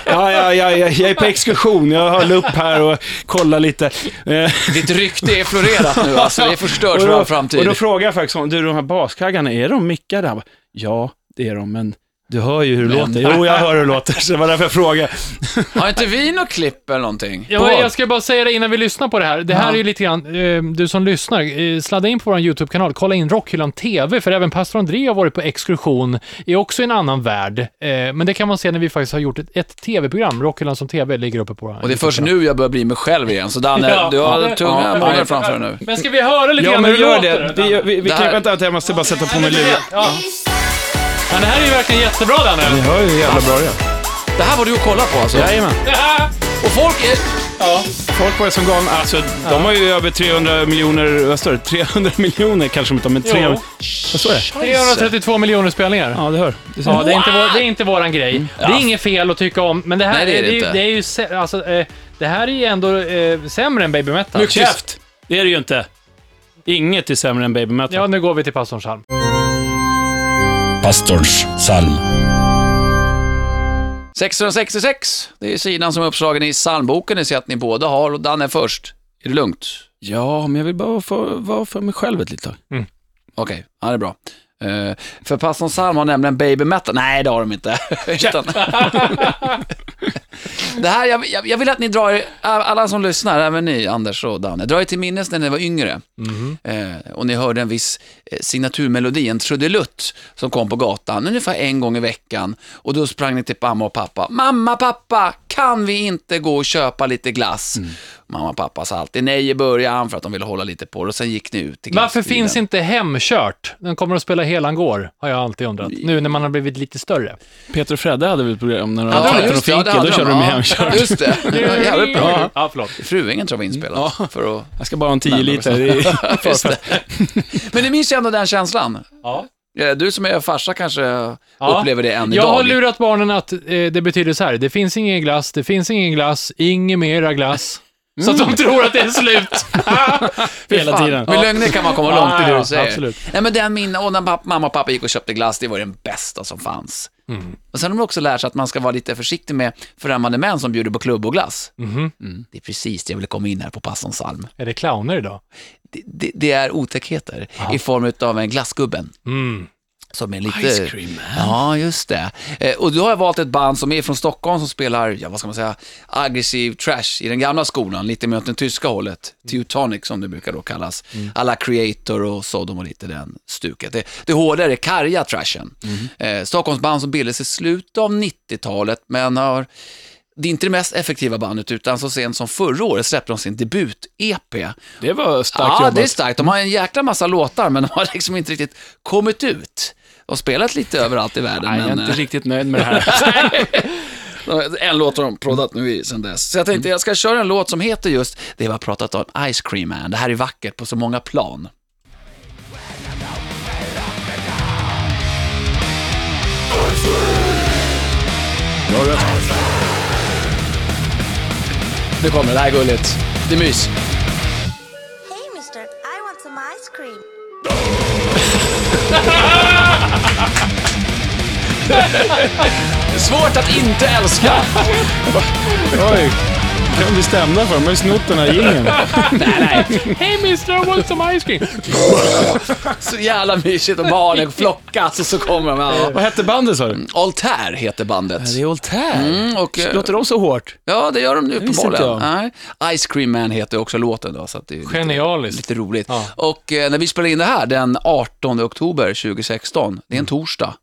Speaker 3: ja, ja, ja, ja, jag är på exkursion, jag höll upp här och kollade lite. Eh,
Speaker 2: Ditt rykte är florerat
Speaker 3: <laughs>
Speaker 2: nu alltså. Det är förstört
Speaker 3: och
Speaker 2: för
Speaker 3: då-
Speaker 2: all framtid.
Speaker 3: Och då frågar jag faktiskt honom, du de här baskaggarna, är de mickade? Han bara, ja det är de, men du hör ju hur det låter. Jo, jag hör hur det låter, så det var därför jag frågade.
Speaker 2: Har inte vi något klipp eller någonting?
Speaker 4: Ja, men jag ska bara säga det innan vi lyssnar på det här. Det här är ju lite grann, eh, du som lyssnar, eh, sladda in på vår YouTube-kanal, kolla in Rockhyllan TV, för även pastor André har varit på exkursion, är också i en annan värld. Eh, men det kan man se när vi faktiskt har gjort ett, ett TV-program, Rockhyllan som TV ligger uppe på eh, vår
Speaker 2: Och det är först
Speaker 4: YouTube-kanal.
Speaker 2: nu jag börjar bli mig själv igen, så Danne,
Speaker 4: Ja.
Speaker 2: du har
Speaker 4: Ja.
Speaker 2: tunga
Speaker 4: Ja.
Speaker 2: månader framför dig nu.
Speaker 4: Men ska vi höra lite
Speaker 3: Ja,
Speaker 4: grann
Speaker 3: men
Speaker 4: hur det
Speaker 3: gör
Speaker 4: låter?
Speaker 3: det. vi, gör- vi, vi
Speaker 2: Det
Speaker 3: kan,
Speaker 2: här-
Speaker 3: vänta, vänta, jag måste bara sätta på mig luren.
Speaker 4: Ja. Men det här är ju verkligen jättebra, Danne.
Speaker 3: Ni hör ju hur jävla bra det är.
Speaker 2: Det här var du och kollar på alltså?
Speaker 3: Jajamän.
Speaker 2: <laughs> Och folk är...
Speaker 3: Folk var ju som galna. Alltså, de har ju över 300 miljoner, vad står det? 300 <laughs> miljoner kanske de inte har, men tre...
Speaker 4: Jo.
Speaker 3: Vad står det?
Speaker 4: 332 miljoner spelningar.
Speaker 3: Ja, du hör. Du ser.
Speaker 4: Ja, det är inte, vår, det är inte våran grej. Det är inget fel att tycka om, men det här
Speaker 2: Nej, det är
Speaker 4: är,
Speaker 2: det
Speaker 4: ju-
Speaker 2: inte.
Speaker 4: det är ju sä- alltså, eh, det här är ju ändå eh, sämre än baby metal.
Speaker 3: Käft! Det är det ju inte. Inget är sämre än Baby Metal.
Speaker 4: Ja, nu går vi till pastorns psalm.
Speaker 1: Pastorns psalm.
Speaker 2: 666, det är sidan som är uppslagen i psalmboken. Ni ser att ni båda har, och Danne först. Är det lugnt?
Speaker 3: Ja, men jag vill bara få- vara för mig själv ett litet tag.
Speaker 2: Okej, ja, det är bra. Eh, för pastorns psalm har nämligen baby metal. Nej, det har de inte. <laughs> Utan... det här, jag, jag, jag vill att ni drar, er- alla som lyssnar, även ni, Anders och Danne, drar er till minnes när ni var yngre.
Speaker 4: Mhm.
Speaker 2: Eh, och ni hörde en viss eh, signaturmelodi, en trudelutt, som kom på gatan ungefär en gång i veckan. Och då sprang ni till mamma och pappa. Mamma, pappa, kan vi inte gå och köpa lite glass?
Speaker 4: Mm.
Speaker 2: Mamma och pappa sa alltid nej i början för att de ville hålla lite på det och sen gick ni ut till
Speaker 4: Varför
Speaker 2: glassbilen.
Speaker 4: finns inte Hemkört? Den kommer att spela hela går, har jag alltid undrat. Nu när man har blivit lite större.
Speaker 3: Peter och Fredde hade väl ett program när de var
Speaker 2: Ja,
Speaker 3: 13 och
Speaker 2: just det, ja, det
Speaker 3: finkel,
Speaker 2: hade
Speaker 3: då körde de
Speaker 2: ja.
Speaker 3: hemkört.
Speaker 2: Just det, <laughs> det var jävligt bra.
Speaker 4: Ja, förlåt.
Speaker 2: Fruängen tror jag var inspelad. För att...
Speaker 3: Jag ska bara ha en 10
Speaker 2: Nej, men
Speaker 3: liter.
Speaker 2: vad <laughs>
Speaker 3: Det är-
Speaker 2: Just det. Men ni minns ju ändå den känslan.
Speaker 4: Ja.
Speaker 2: Eh, Du som är farsa kanske
Speaker 4: Ja.
Speaker 2: upplever det än
Speaker 4: Jag
Speaker 2: idag.
Speaker 4: har lurat barnen att eh, det betyder så här, det finns ingen glass, det finns ingen glass, ingen mera glass. Så
Speaker 2: Mm.
Speaker 4: att de tror att det
Speaker 2: <laughs>
Speaker 4: är slut. <laughs>
Speaker 3: Hela tiden.
Speaker 2: Med lögner kan man komma långt i det
Speaker 4: Ja,
Speaker 2: du säger.
Speaker 3: absolut.
Speaker 2: Nej, men den minne, och när papp, mamma och pappa gick och köpte glass, det var den bästa som fanns.
Speaker 4: Mm.
Speaker 2: Och sen har de också lärt sig att man ska vara lite försiktig med främmande män som bjuder på klubb och glass.
Speaker 4: Mhm.
Speaker 2: Mm. Det är precis det jag ville komma in här på Passons psalm.
Speaker 4: är det clowner idag?
Speaker 2: Det, det, det är otäckheter i form av en glassgubben. Som är lite... Mm. Ice Cream Man. Ja, just det. Eh, och då har jag valt ett band som är från Stockholm som spelar, ja vad ska man säga, aggressiv trash i den gamla skolan, lite mer åt den tyska hållet. Teutonic som det brukar då kallas. Alla Creator och Sodom och lite den stuket. Det, det hårdare, karga trashen. Eh, Stockholmsband som bildades i slutet av 90-talet, men har det är inte det mest effektiva bandet, utan så sent som förra året släppte de sin debut-EP.
Speaker 3: Det var starkt
Speaker 2: Ja,
Speaker 3: jobbat.
Speaker 2: det är starkt. De har en jäkla massa låtar, men de har <laughs> liksom inte riktigt kommit ut. De har spelat lite överallt i världen,
Speaker 3: Nej, jag är
Speaker 2: men
Speaker 3: inte
Speaker 2: eh,
Speaker 3: riktigt nöjd med det
Speaker 2: <laughs>
Speaker 3: här.
Speaker 2: en låt har de proddat nu i sen dess. Så jag tänkte jag ska köra en låt som heter just det vi har pratat om, Ice Cream Man. Det här är vackert på så många plan. Nu kommer det, det här är gulligt. Det är mys.
Speaker 6: Hey, mister, I want some ice cream.
Speaker 2: Svårt att inte älska. <laughs>
Speaker 3: Oj, kan bli stämda för. De har ju snott den här jingeln.
Speaker 4: Hey Mr. I want some ice cream!
Speaker 2: Så jävla mysigt och barnen flockas och så kommer de. Ja.
Speaker 3: Vad hette bandet sa du?
Speaker 2: Altair heter bandet.
Speaker 3: Mm. Det är Voltaire.
Speaker 2: Mm, och, eh,
Speaker 3: Låter de så hårt?
Speaker 2: ja, det gör de nu
Speaker 3: visste inte
Speaker 2: uppenbarligen. Nej. Ice Cream Man heter också låten då, så att det är lite,
Speaker 4: Genialiskt.
Speaker 2: lite roligt. Och eh, när vi spelar in det här den 18 oktober 2016, det är en torsdag.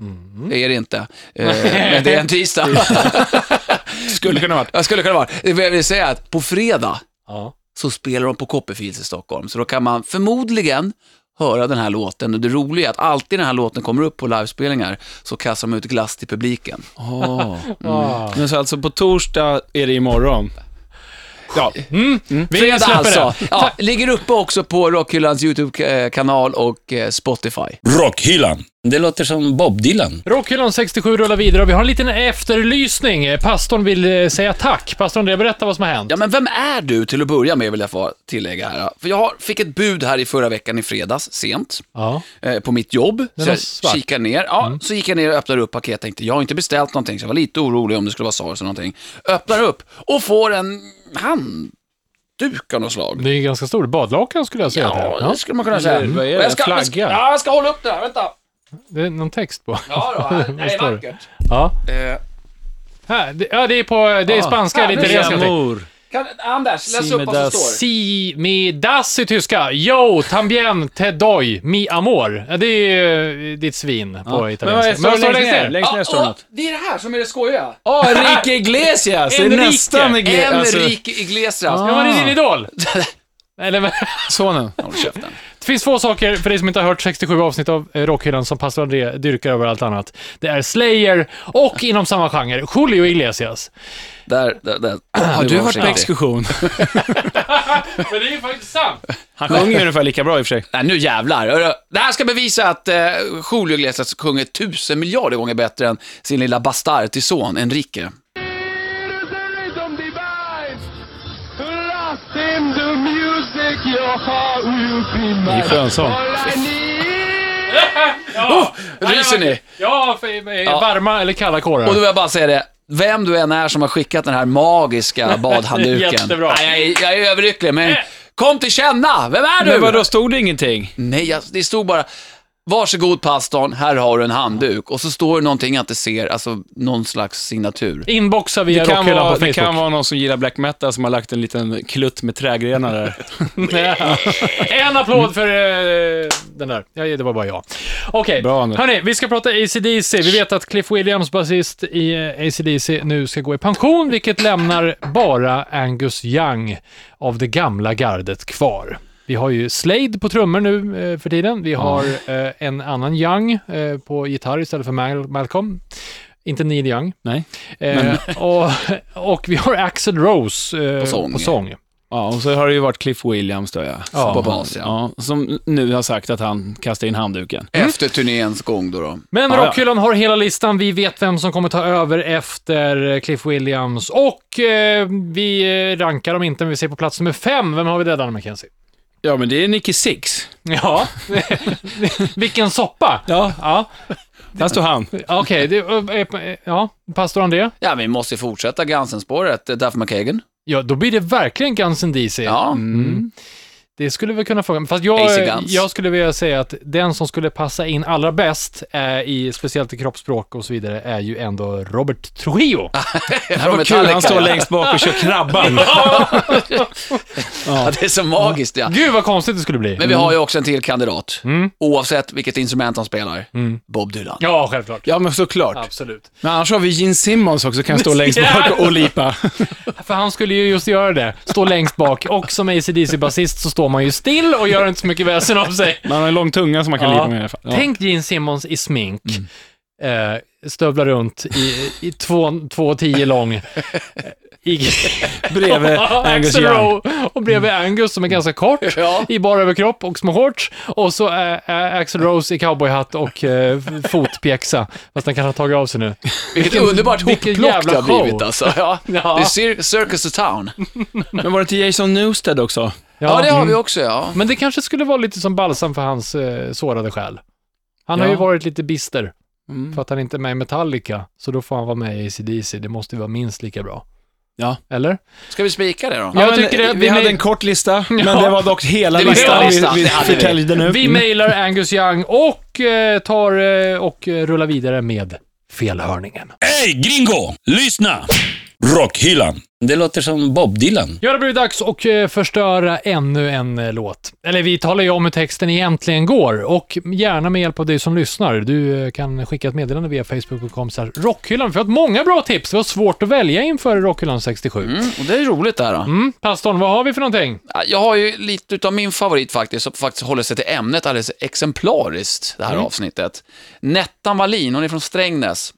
Speaker 2: Det är det inte, eh, men det är en tisdag. <laughs>
Speaker 3: Skulle kunna varit.
Speaker 2: Jag skulle kunna vara. Det vill säga att på fredag
Speaker 4: Ja.
Speaker 2: så spelar de på Copperfields i Stockholm. Så då kan man förmodligen höra den här låten. Och det roliga är att alltid när den här låten kommer upp på livespelningar så kastar de ut glass till publiken. <laughs>
Speaker 4: Ah.
Speaker 3: Men så alltså på torsdag är det imorgon. Ja,
Speaker 4: Vi
Speaker 2: Fredag
Speaker 4: släpper
Speaker 2: alltså.
Speaker 4: det.
Speaker 2: Ja, ligger uppe också på Rockhyllans YouTube-kanal och eh, Spotify.
Speaker 1: Rockhyllan. Det låter som Bob Dylan.
Speaker 4: Rockhyllan 67 rullar vidare och vi har en liten efterlysning. Eh, Pastorn vill eh, säga tack. Pastorn, det berätta vad som har hänt.
Speaker 2: Ja, men vem är du till att börja med vill jag få tillägga här. För jag har- fick ett bud här i förra veckan i fredags, sent.
Speaker 4: Ja.
Speaker 2: eh, på mitt jobb.
Speaker 4: Den
Speaker 2: Så
Speaker 4: var
Speaker 2: jag
Speaker 4: svart.
Speaker 2: kikar ner. Ja,
Speaker 3: Mm.
Speaker 2: Så gick jag ner och öppnade upp paketet. Tänkte, jag har inte beställt någonting, så jag var lite orolig om det skulle vara SARS eller någonting. Öppnar upp och får en handduk av något slag.
Speaker 4: Det är ganska stor. Badlakan skulle jag säga att det är.
Speaker 2: Ja, det skulle man kunna säga.
Speaker 3: Eller vad är
Speaker 2: Och
Speaker 3: det?
Speaker 2: Jag ska,
Speaker 3: Flagga?
Speaker 2: Ja, jag ska hålla upp den här. Vänta.
Speaker 4: Det är någon text på.
Speaker 2: Ja,
Speaker 4: <laughs>
Speaker 2: då, här.
Speaker 3: <laughs>
Speaker 2: det här är
Speaker 4: står det?
Speaker 2: vackert.
Speaker 4: Ja.
Speaker 2: Eh,
Speaker 4: Här, det, ja, det är på...
Speaker 3: Ah.
Speaker 4: Det är spanska eller
Speaker 2: här, nu ser
Speaker 4: italienska.
Speaker 2: jag.
Speaker 4: någonting.
Speaker 3: mor.
Speaker 2: kan, Anders, läs upp vad som
Speaker 3: Simedas.
Speaker 2: står.
Speaker 4: Si mi das i tyska. Yo, tambien te doy, mi amor. Ja, det är eh, ditt svin på
Speaker 3: Ah. Men vad är-
Speaker 4: italienska.
Speaker 3: står det längst ner?
Speaker 4: ner?
Speaker 3: Längst ner står det
Speaker 2: Ja,
Speaker 3: något.
Speaker 2: och det är det här som är det skojiga.
Speaker 3: Åh, Enrique Iglesias! Det är
Speaker 4: Enrique.
Speaker 3: nästan Iglesias. Alltså,
Speaker 2: Enrique Iglesias.
Speaker 4: Ja, var det din
Speaker 3: <laughs>
Speaker 4: idol? Eller, men-
Speaker 3: Ah. sonen.
Speaker 2: Håll käften.
Speaker 4: Det finns få saker, för dig som inte har hört 67 avsnitt av eh, Rockhyllan, som pastor André dyrkar över allt annat. Det är Slayer och inom samma genre, Julio Iglesias.
Speaker 2: Där, där, där.
Speaker 3: <clears throat> Har du varit på exkursion?
Speaker 4: Men det är ju faktiskt sant.
Speaker 3: <laughs> Han sjunger ungefär lika bra i och för sig.
Speaker 2: Nej, nu jävlar. Hörru, Det här ska bevisa att eh, Julio Iglesias sjunger tusen miljarder gånger bättre än sin lilla bastard till son, Enrique.
Speaker 3: Det är skönsång.
Speaker 2: Ryser ni?
Speaker 4: Ja, för, eh, varma eller kalla kårar.
Speaker 2: Och då vill jag bara säga det, vem du än är som har skickat den här
Speaker 3: <laughs>
Speaker 2: magiska badhandduken.
Speaker 4: Jättebra.
Speaker 2: Nej, jag, är- jag är överlycklig, men kom till känna! Vem är du?
Speaker 3: Men vadå, stod det ingenting?
Speaker 2: Nej, jag, det stod bara, varsågod pastorn, här har du en handduk. Och så står det någonting jag inte ser, alltså någon slags signatur.
Speaker 4: Inboxa via
Speaker 3: Det kan,
Speaker 4: Rockhyllan
Speaker 3: vara,
Speaker 4: på
Speaker 3: det kan
Speaker 4: Facebook.
Speaker 3: vara någon som gillar black metal som har lagt en liten klutt med trägrenar där.
Speaker 4: <laughs> en applåd för eh, den där. Ja, det var bara jag. Okej,
Speaker 3: Bra, Anders.
Speaker 4: hörni, vi ska prata ACDC. Vi vet att Cliff Williams, basist i eh, ACDC, nu ska gå i pension, vilket lämnar bara Angus Young av det gamla gardet kvar. Vi har ju Slade på trummor nu eh, för tiden. Vi har eh, en annan Young eh, på gitarr istället för Mal- Malcolm. Inte Neil Young.
Speaker 3: <laughs> Nej.
Speaker 4: Eh, och, och vi har Axel Rose eh,
Speaker 2: På sång.
Speaker 4: På sång.
Speaker 3: Ja, och så har det ju varit Cliff Williams då ja.
Speaker 4: Ja.
Speaker 2: På bas, ja.
Speaker 3: ja. Som nu har sagt att han kastar in handduken.
Speaker 2: Efter turnéns gång då. då.
Speaker 4: Men
Speaker 3: Ja, ja.
Speaker 4: Rockhyllan har hela listan. Vi vet vem som kommer ta över efter eh, Cliff Williams. Och eh, vi eh, rankar dem inte, men vi ser på plats nummer fem. Vem har vi där, Danne McKenzie?
Speaker 3: Ja, men det är Nicky Six.
Speaker 4: Ja, <laughs> vilken soppa!
Speaker 3: Ja.
Speaker 4: Ja,
Speaker 3: Där står han.
Speaker 4: okej. det- eh, eh, Ja, pastor André.
Speaker 2: Ja, vi måste ju fortsätta Gansen-spåret, Duff McKagan.
Speaker 4: Ja, då blir det verkligen Guns N' DC.
Speaker 2: Ja.
Speaker 4: Mm. Det skulle vi kunna fråga, fast
Speaker 2: Basic
Speaker 4: jag,
Speaker 2: Guns.
Speaker 4: jag skulle vilja säga att den som skulle passa in allra bäst, eh, i, speciellt i kroppsspråk och så vidare, är ju ändå Robert Trujillo.
Speaker 2: Från
Speaker 3: Vad kul,
Speaker 2: Metallica,
Speaker 3: han står
Speaker 2: ja.
Speaker 3: längst bak och kör krabban.
Speaker 2: Ja, det är så magiskt ja.
Speaker 4: Gud vad konstigt det skulle bli.
Speaker 2: Men vi har ju också en till kandidat.
Speaker 4: Mm.
Speaker 2: Oavsett vilket instrument han spelar. Bob Dylan.
Speaker 4: Ja, självklart.
Speaker 3: Ja, men såklart.
Speaker 4: Absolut.
Speaker 3: <laughs> Men annars har vi Gene Simmons också, kan stå längst bak och lipa.
Speaker 4: För han skulle ju just göra det, stå längst bak och som ACDC-basist så står man ju still och gör inte så mycket väsen av sig.
Speaker 3: Man har en lång tunga som man kan
Speaker 4: Ja.
Speaker 3: lipa med i alla fall. Ja. Mm.
Speaker 4: Tänk Gene Simmons i smink, eh, stövlar runt i, i två, två och tio lång. I, <laughs>
Speaker 3: Bredvid Angus
Speaker 4: Axl
Speaker 3: Young.
Speaker 4: Rowe och bredvid Angus som är ganska kort,
Speaker 2: <laughs> Ja.
Speaker 4: i bara överkropp och små shorts. Och så är är Axl Rose i cowboyhatt och eh, f- fotpjäxa, fast han kanske har tagit av sig nu.
Speaker 2: Vilket
Speaker 4: Vilken-
Speaker 2: underbart
Speaker 4: vilken
Speaker 2: hopplock det
Speaker 4: jävla
Speaker 2: har blivit
Speaker 4: show.
Speaker 2: alltså. Ja.
Speaker 4: <laughs> Ja.
Speaker 2: Det är cir- Circus to Town. Ja,
Speaker 3: Men var det till Jason Newsted också?
Speaker 2: det har vi
Speaker 4: mm.
Speaker 2: också ja.
Speaker 4: Men det kanske skulle vara lite som balsam för hans eh, sårade själ. Han har
Speaker 3: Ja.
Speaker 4: ju varit lite bister
Speaker 3: Mm.
Speaker 4: för att han inte är med i Metallica, så då får han vara med i ACDC. Det måste ju vara minst lika bra.
Speaker 3: Ja.
Speaker 4: Eller?
Speaker 2: Ska vi spika det då?
Speaker 4: Ja. Jag tycker det-
Speaker 3: vi,
Speaker 4: vi-
Speaker 3: hade en kort lista, men det var dock hela
Speaker 2: Det var
Speaker 3: listan
Speaker 2: hela
Speaker 3: vi,
Speaker 2: listan,
Speaker 3: vi
Speaker 2: det hade vi.
Speaker 3: förtäljde nu.
Speaker 4: Vi mailar Angus Young och eh, tar eh, och eh, rullar vidare med felhörningen.
Speaker 1: Ej, gringo! Lyssna! Rockhyllan. Det låter som Bob Dylan.
Speaker 4: Ja, det blir dags att eh, förstöra ännu en eh, låt. Eller vi talar ju om hur texten egentligen går och gärna med hjälp av dig som lyssnar. Du eh, kan skicka ett meddelande via facebook.com så här, rockhyllan. Vi har fått många bra tips. Det var svårt att välja inför rockhyllan 67. Mm.
Speaker 2: Mm, och det är roligt det här. Då.
Speaker 4: Pastorn, vad har vi för någonting?
Speaker 2: Ja, Jag har ju lite utav min favorit faktiskt, som faktiskt håller sig till ämnet alldeles exemplariskt, det här avsnittet. Nettan Wallin, hon är från Strängnäs.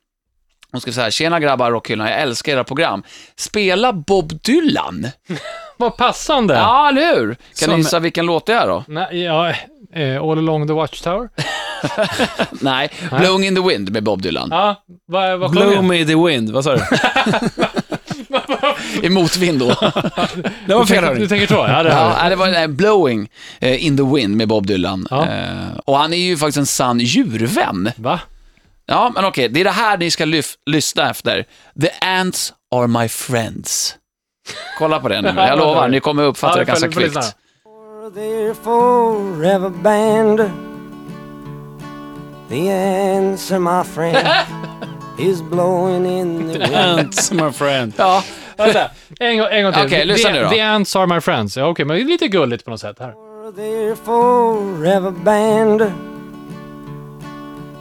Speaker 2: Hon skrev så här, tjena grabbar rockhyllan, jag älskar era program. Spela Bob Dylan.
Speaker 4: Vad passande.
Speaker 2: Ja, eller hur? Kan ni
Speaker 3: Som-
Speaker 2: gissa vilken låt det är då?
Speaker 4: Nej, ja, eh, all along the watchtower.
Speaker 2: Nej, Blowing in the Wind med Bob Dylan.
Speaker 4: Ja, vad, vad sjunger
Speaker 3: Blow
Speaker 4: jag?
Speaker 3: me the wind, vad sa du?
Speaker 2: I motvind då.
Speaker 3: Det var
Speaker 4: Du tänker-
Speaker 3: fel
Speaker 4: Du tänker så?
Speaker 2: <laughs>
Speaker 4: Ja, det
Speaker 2: ja,
Speaker 4: har
Speaker 2: nej, det var nej, Blowing eh, in the Wind med Bob Dylan.
Speaker 4: Ja.
Speaker 2: Eh, och han är ju faktiskt en sann djurvän.
Speaker 4: vi. Va?
Speaker 2: Ja, men okej, det är det här ni ska lyf- lyssna efter. The ants are my friends. Kolla på det
Speaker 4: <laughs>
Speaker 2: nu, jag lovar, ni kommer uppfatta det
Speaker 4: Ja,
Speaker 2: ganska
Speaker 4: får- får lyssna.
Speaker 2: kvickt.
Speaker 5: They're forever banned. The answer, my friend, is blowing in the wind.
Speaker 3: Ants, my friend.
Speaker 2: Ja,
Speaker 4: Vänta, en, gång- en gång till.
Speaker 2: Okej, lyssna
Speaker 4: the,
Speaker 2: nu då.
Speaker 4: The ants are my friends. Ja, okej, men det är lite gulligt på något sätt här.
Speaker 5: They're forever banned.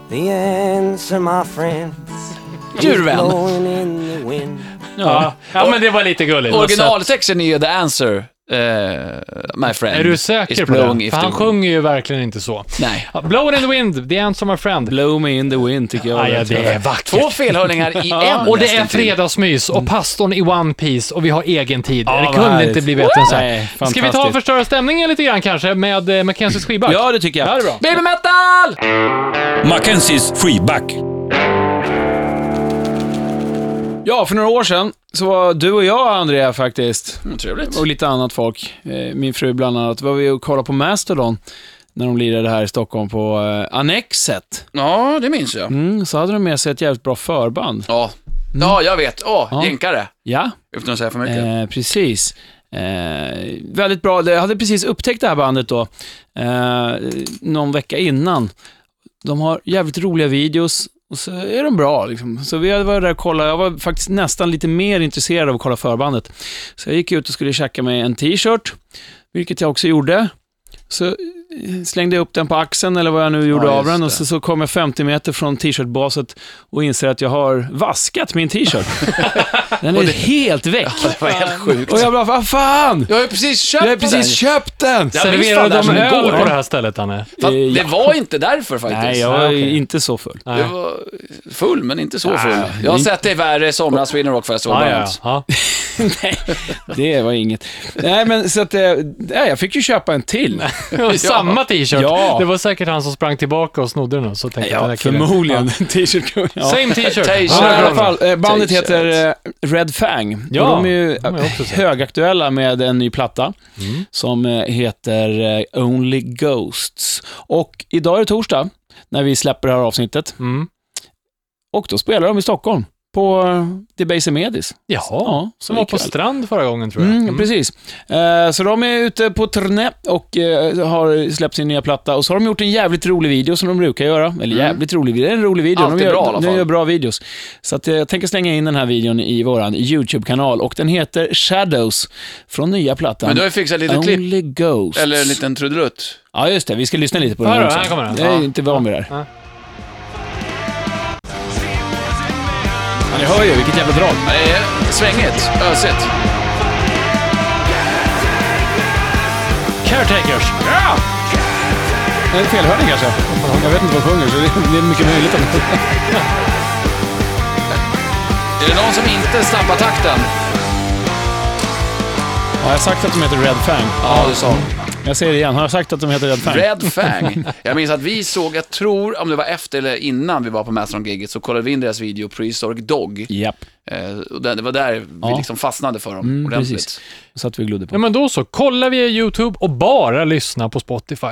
Speaker 5: The answer, my friend, is
Speaker 2: djurvän.
Speaker 5: blowing in the wind.
Speaker 4: Ja, ja men det var lite gulligt.
Speaker 2: Originaltexten är ju The answer, eh, my friend.
Speaker 4: Är du säker
Speaker 2: is
Speaker 4: på
Speaker 2: blowing
Speaker 4: det?
Speaker 2: if
Speaker 4: För
Speaker 2: the
Speaker 4: han
Speaker 2: wind.
Speaker 4: sjunger ju verkligen inte så.
Speaker 2: Nej.
Speaker 4: Ja, Blow it in the wind, the ants are my friend.
Speaker 3: Blow me in the wind tycker jag.
Speaker 4: Ah, ja, det är vackert. <laughs>
Speaker 2: Två felhörningar i en
Speaker 4: Och det är
Speaker 2: nästintill.
Speaker 4: fredagsmys och pastorn i One Piece och vi har egen tid. det
Speaker 3: Mm. vad
Speaker 4: kunde
Speaker 3: härligt.
Speaker 4: inte bli bättre än så
Speaker 3: Nej,
Speaker 4: här. Ska vi ta och
Speaker 3: fantastiskt.
Speaker 4: förstöra stämningen lite grann kanske med eh, Mackenzies skivback?
Speaker 3: Ja, det tycker jag.
Speaker 4: Ja, det är bra.
Speaker 2: Baby metal!
Speaker 1: Mackenzies freeback.
Speaker 3: Ja, för några år sedan så var du och jag, Andrea, faktiskt,
Speaker 2: Mm, trevligt.
Speaker 3: och lite annat folk, eh, min fru bland annat, var vi och kollade på Mastodon när de lirade här i Stockholm på eh, Annexet.
Speaker 2: Ja, det minns jag.
Speaker 3: Mm, så hade de med sig ett jävligt bra förband.
Speaker 2: Ja, ja jag vet. Åh,
Speaker 3: Ja.
Speaker 2: jänkare.
Speaker 3: Ja,
Speaker 2: Utan att säga för mycket.
Speaker 3: eh, precis. Eh, väldigt bra. Jag hade precis upptäckt det här bandet då, eh, någon vecka innan. De har jävligt roliga videos och så är de bra. Liksom. Så vi var där och kollade. Jag var faktiskt nästan lite mer intresserad av att kolla förbandet. Så jag gick ut och skulle tjacka mig en t-shirt, vilket jag också gjorde. Så eh, slängde jag upp den på axeln eller vad jag nu gjorde
Speaker 2: Ja,
Speaker 3: av
Speaker 2: just
Speaker 3: den och
Speaker 2: det.
Speaker 3: så, så kom jag 50 meter från t-shirtbaset och inser att jag har vaskat
Speaker 2: <laughs>
Speaker 3: min t-shirt. den är helt väck.
Speaker 2: Det var helt sjukt.
Speaker 3: Och jag bara, vad fan!
Speaker 2: Jag har ju precis köpt
Speaker 3: Jag har precis köpt den!
Speaker 2: Jag minns
Speaker 4: Serverar
Speaker 2: fan det här
Speaker 4: de
Speaker 2: som
Speaker 4: öl
Speaker 2: igår.
Speaker 4: på det här stället, Anne?
Speaker 2: Fast
Speaker 3: Eh,
Speaker 2: Det
Speaker 3: ja.
Speaker 2: var inte därför faktiskt.
Speaker 3: Nej, jag var inte så full.
Speaker 4: Nej.
Speaker 2: Jag var full, men inte så full.
Speaker 3: Nej,
Speaker 2: jag har
Speaker 3: det-
Speaker 2: sett dig värre i somras vid Rock Festival.
Speaker 4: Ja,
Speaker 2: bland
Speaker 4: ja,
Speaker 2: annat.
Speaker 4: ja.
Speaker 3: <laughs> Det var inget. Nej, men så att, eh, nej, jag fick ju köpa en till. <laughs>
Speaker 4: ja. Samma t-shirt.
Speaker 3: Ja.
Speaker 4: Det var säkert han som sprang tillbaka och snodde den och så tänkte jag, den här killen-
Speaker 3: förmodligen. <laughs> T-shirt.
Speaker 4: Ja.
Speaker 3: Ja.
Speaker 4: Same t-shirt.
Speaker 2: T-shirt.
Speaker 3: Ja, men i alla
Speaker 4: Ja,
Speaker 3: fall. eh, Bandet
Speaker 2: T-shirt.
Speaker 3: heter eh, Red Fang.
Speaker 4: Ja,
Speaker 3: och de är ju
Speaker 4: de har jag också Mm. sett.
Speaker 3: högaktuella med en ny platta som eh, heter eh, Only Ghosts. Och idag är det torsdag när vi släpper det här avsnittet.
Speaker 4: Mm.
Speaker 3: Och då spelar de i Stockholm på eh, Debaser Medis.
Speaker 4: Jaha,
Speaker 3: Ja,
Speaker 4: som var på
Speaker 3: ikväll.
Speaker 4: strand förra gången tror jag.
Speaker 3: Mm, Precis. Eh, Så de är ute på turné och eh, har släppt sin nya platta. Och så har de gjort en jävligt rolig video som de brukar göra. Eller jävligt rolig video, det är en rolig video.
Speaker 2: Alltid
Speaker 3: de gör,
Speaker 2: Mm. bra i alla
Speaker 3: de
Speaker 2: fall.
Speaker 3: gör bra videos. Så att eh, jag tänker slänga in den här videon i våran YouTube-kanal och den heter Shadows från nya plattan.
Speaker 2: Men du har ju fixat lite
Speaker 3: Only
Speaker 2: klipp,
Speaker 3: Ghosts.
Speaker 2: eller en liten trudelutt.
Speaker 3: Ja, just det. Vi ska lyssna lite på
Speaker 4: Här
Speaker 3: den
Speaker 4: då,
Speaker 3: också.
Speaker 4: här kommer den.
Speaker 3: Jag är
Speaker 4: Ja.
Speaker 3: inte van vid det här.
Speaker 4: Ja.
Speaker 3: Ja, ni hör ju vilket jävla drag.
Speaker 2: Nej, eh, svängigt, ösigt.
Speaker 4: Caretakers.
Speaker 3: En felhörning kanske. Jag vet inte vad de sjunger, så det- det är mycket möjligt.
Speaker 2: Är det någon som inte snappar takten?
Speaker 3: Har jag sagt att de heter Red Fang?
Speaker 2: Ja, du sa.
Speaker 3: Jag säger det igen. Har jag sagt att de heter Red Fang?
Speaker 2: Red Fang. Jag minns att vi såg, jag tror om det var efter eller innan vi var på Mastodon-giget, så kollade vi in deras video Prehistoric Dog.
Speaker 3: Japp.
Speaker 2: Eh, och det, det var där vi
Speaker 3: Ja.
Speaker 2: liksom fastnade för dem ordentligt.
Speaker 3: Precis. Så att vi och glodde på.
Speaker 4: Ja, men då så. Kolla via YouTube och bara lyssna på Spotify.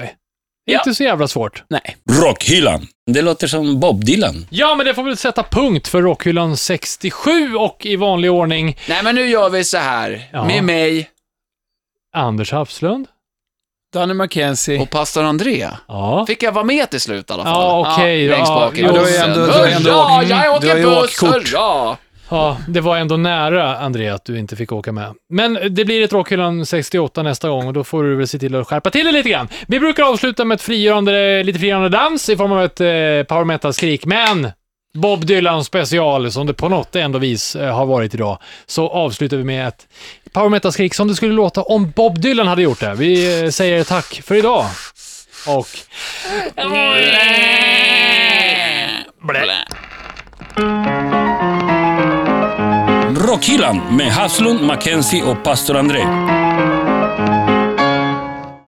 Speaker 4: Inte så jävla svårt.
Speaker 3: Nej.
Speaker 1: Rockhyllan. Det låter som Bob Dylan.
Speaker 4: Ja, men det får väl sätta punkt för Rockhyllan 67 och i vanlig ordning
Speaker 2: Nej, men nu gör vi så här.
Speaker 4: Ja.
Speaker 2: Med mig
Speaker 4: Anders Hafslund.
Speaker 3: Danny McKenzie.
Speaker 2: och pastor André.
Speaker 4: Ja,
Speaker 2: Fick jag vara med till slut i alla fall?
Speaker 4: Ja, okej,
Speaker 2: längst
Speaker 4: ja,
Speaker 2: bak i
Speaker 4: jo.
Speaker 2: bussen.
Speaker 4: Ja, du har ju
Speaker 3: ändå- du har ju ändå-
Speaker 2: Hurra,
Speaker 3: mm,
Speaker 2: jag
Speaker 3: du har ju
Speaker 2: åker
Speaker 3: åkt
Speaker 2: buss,
Speaker 3: kort.
Speaker 2: hurra!
Speaker 4: ja, det var ändå nära, André, att du inte fick åka med. Men det blir ett Rockhyllan 68 nästa gång och då får du väl se till att skärpa till det lite grann. Vi brukar avsluta med ett frigörande, lite frigörande dans i form av ett eh, power metal-skrik, men Bob Dylan special, som det på något ändå vis eh, har varit idag, så avslutar vi med ett power metal-skrik som det skulle låta om Bob Dylan hade gjort det. Vi eh, säger tack för idag och
Speaker 1: Rockhyllan med Haslund, Mackenzie och pastor André.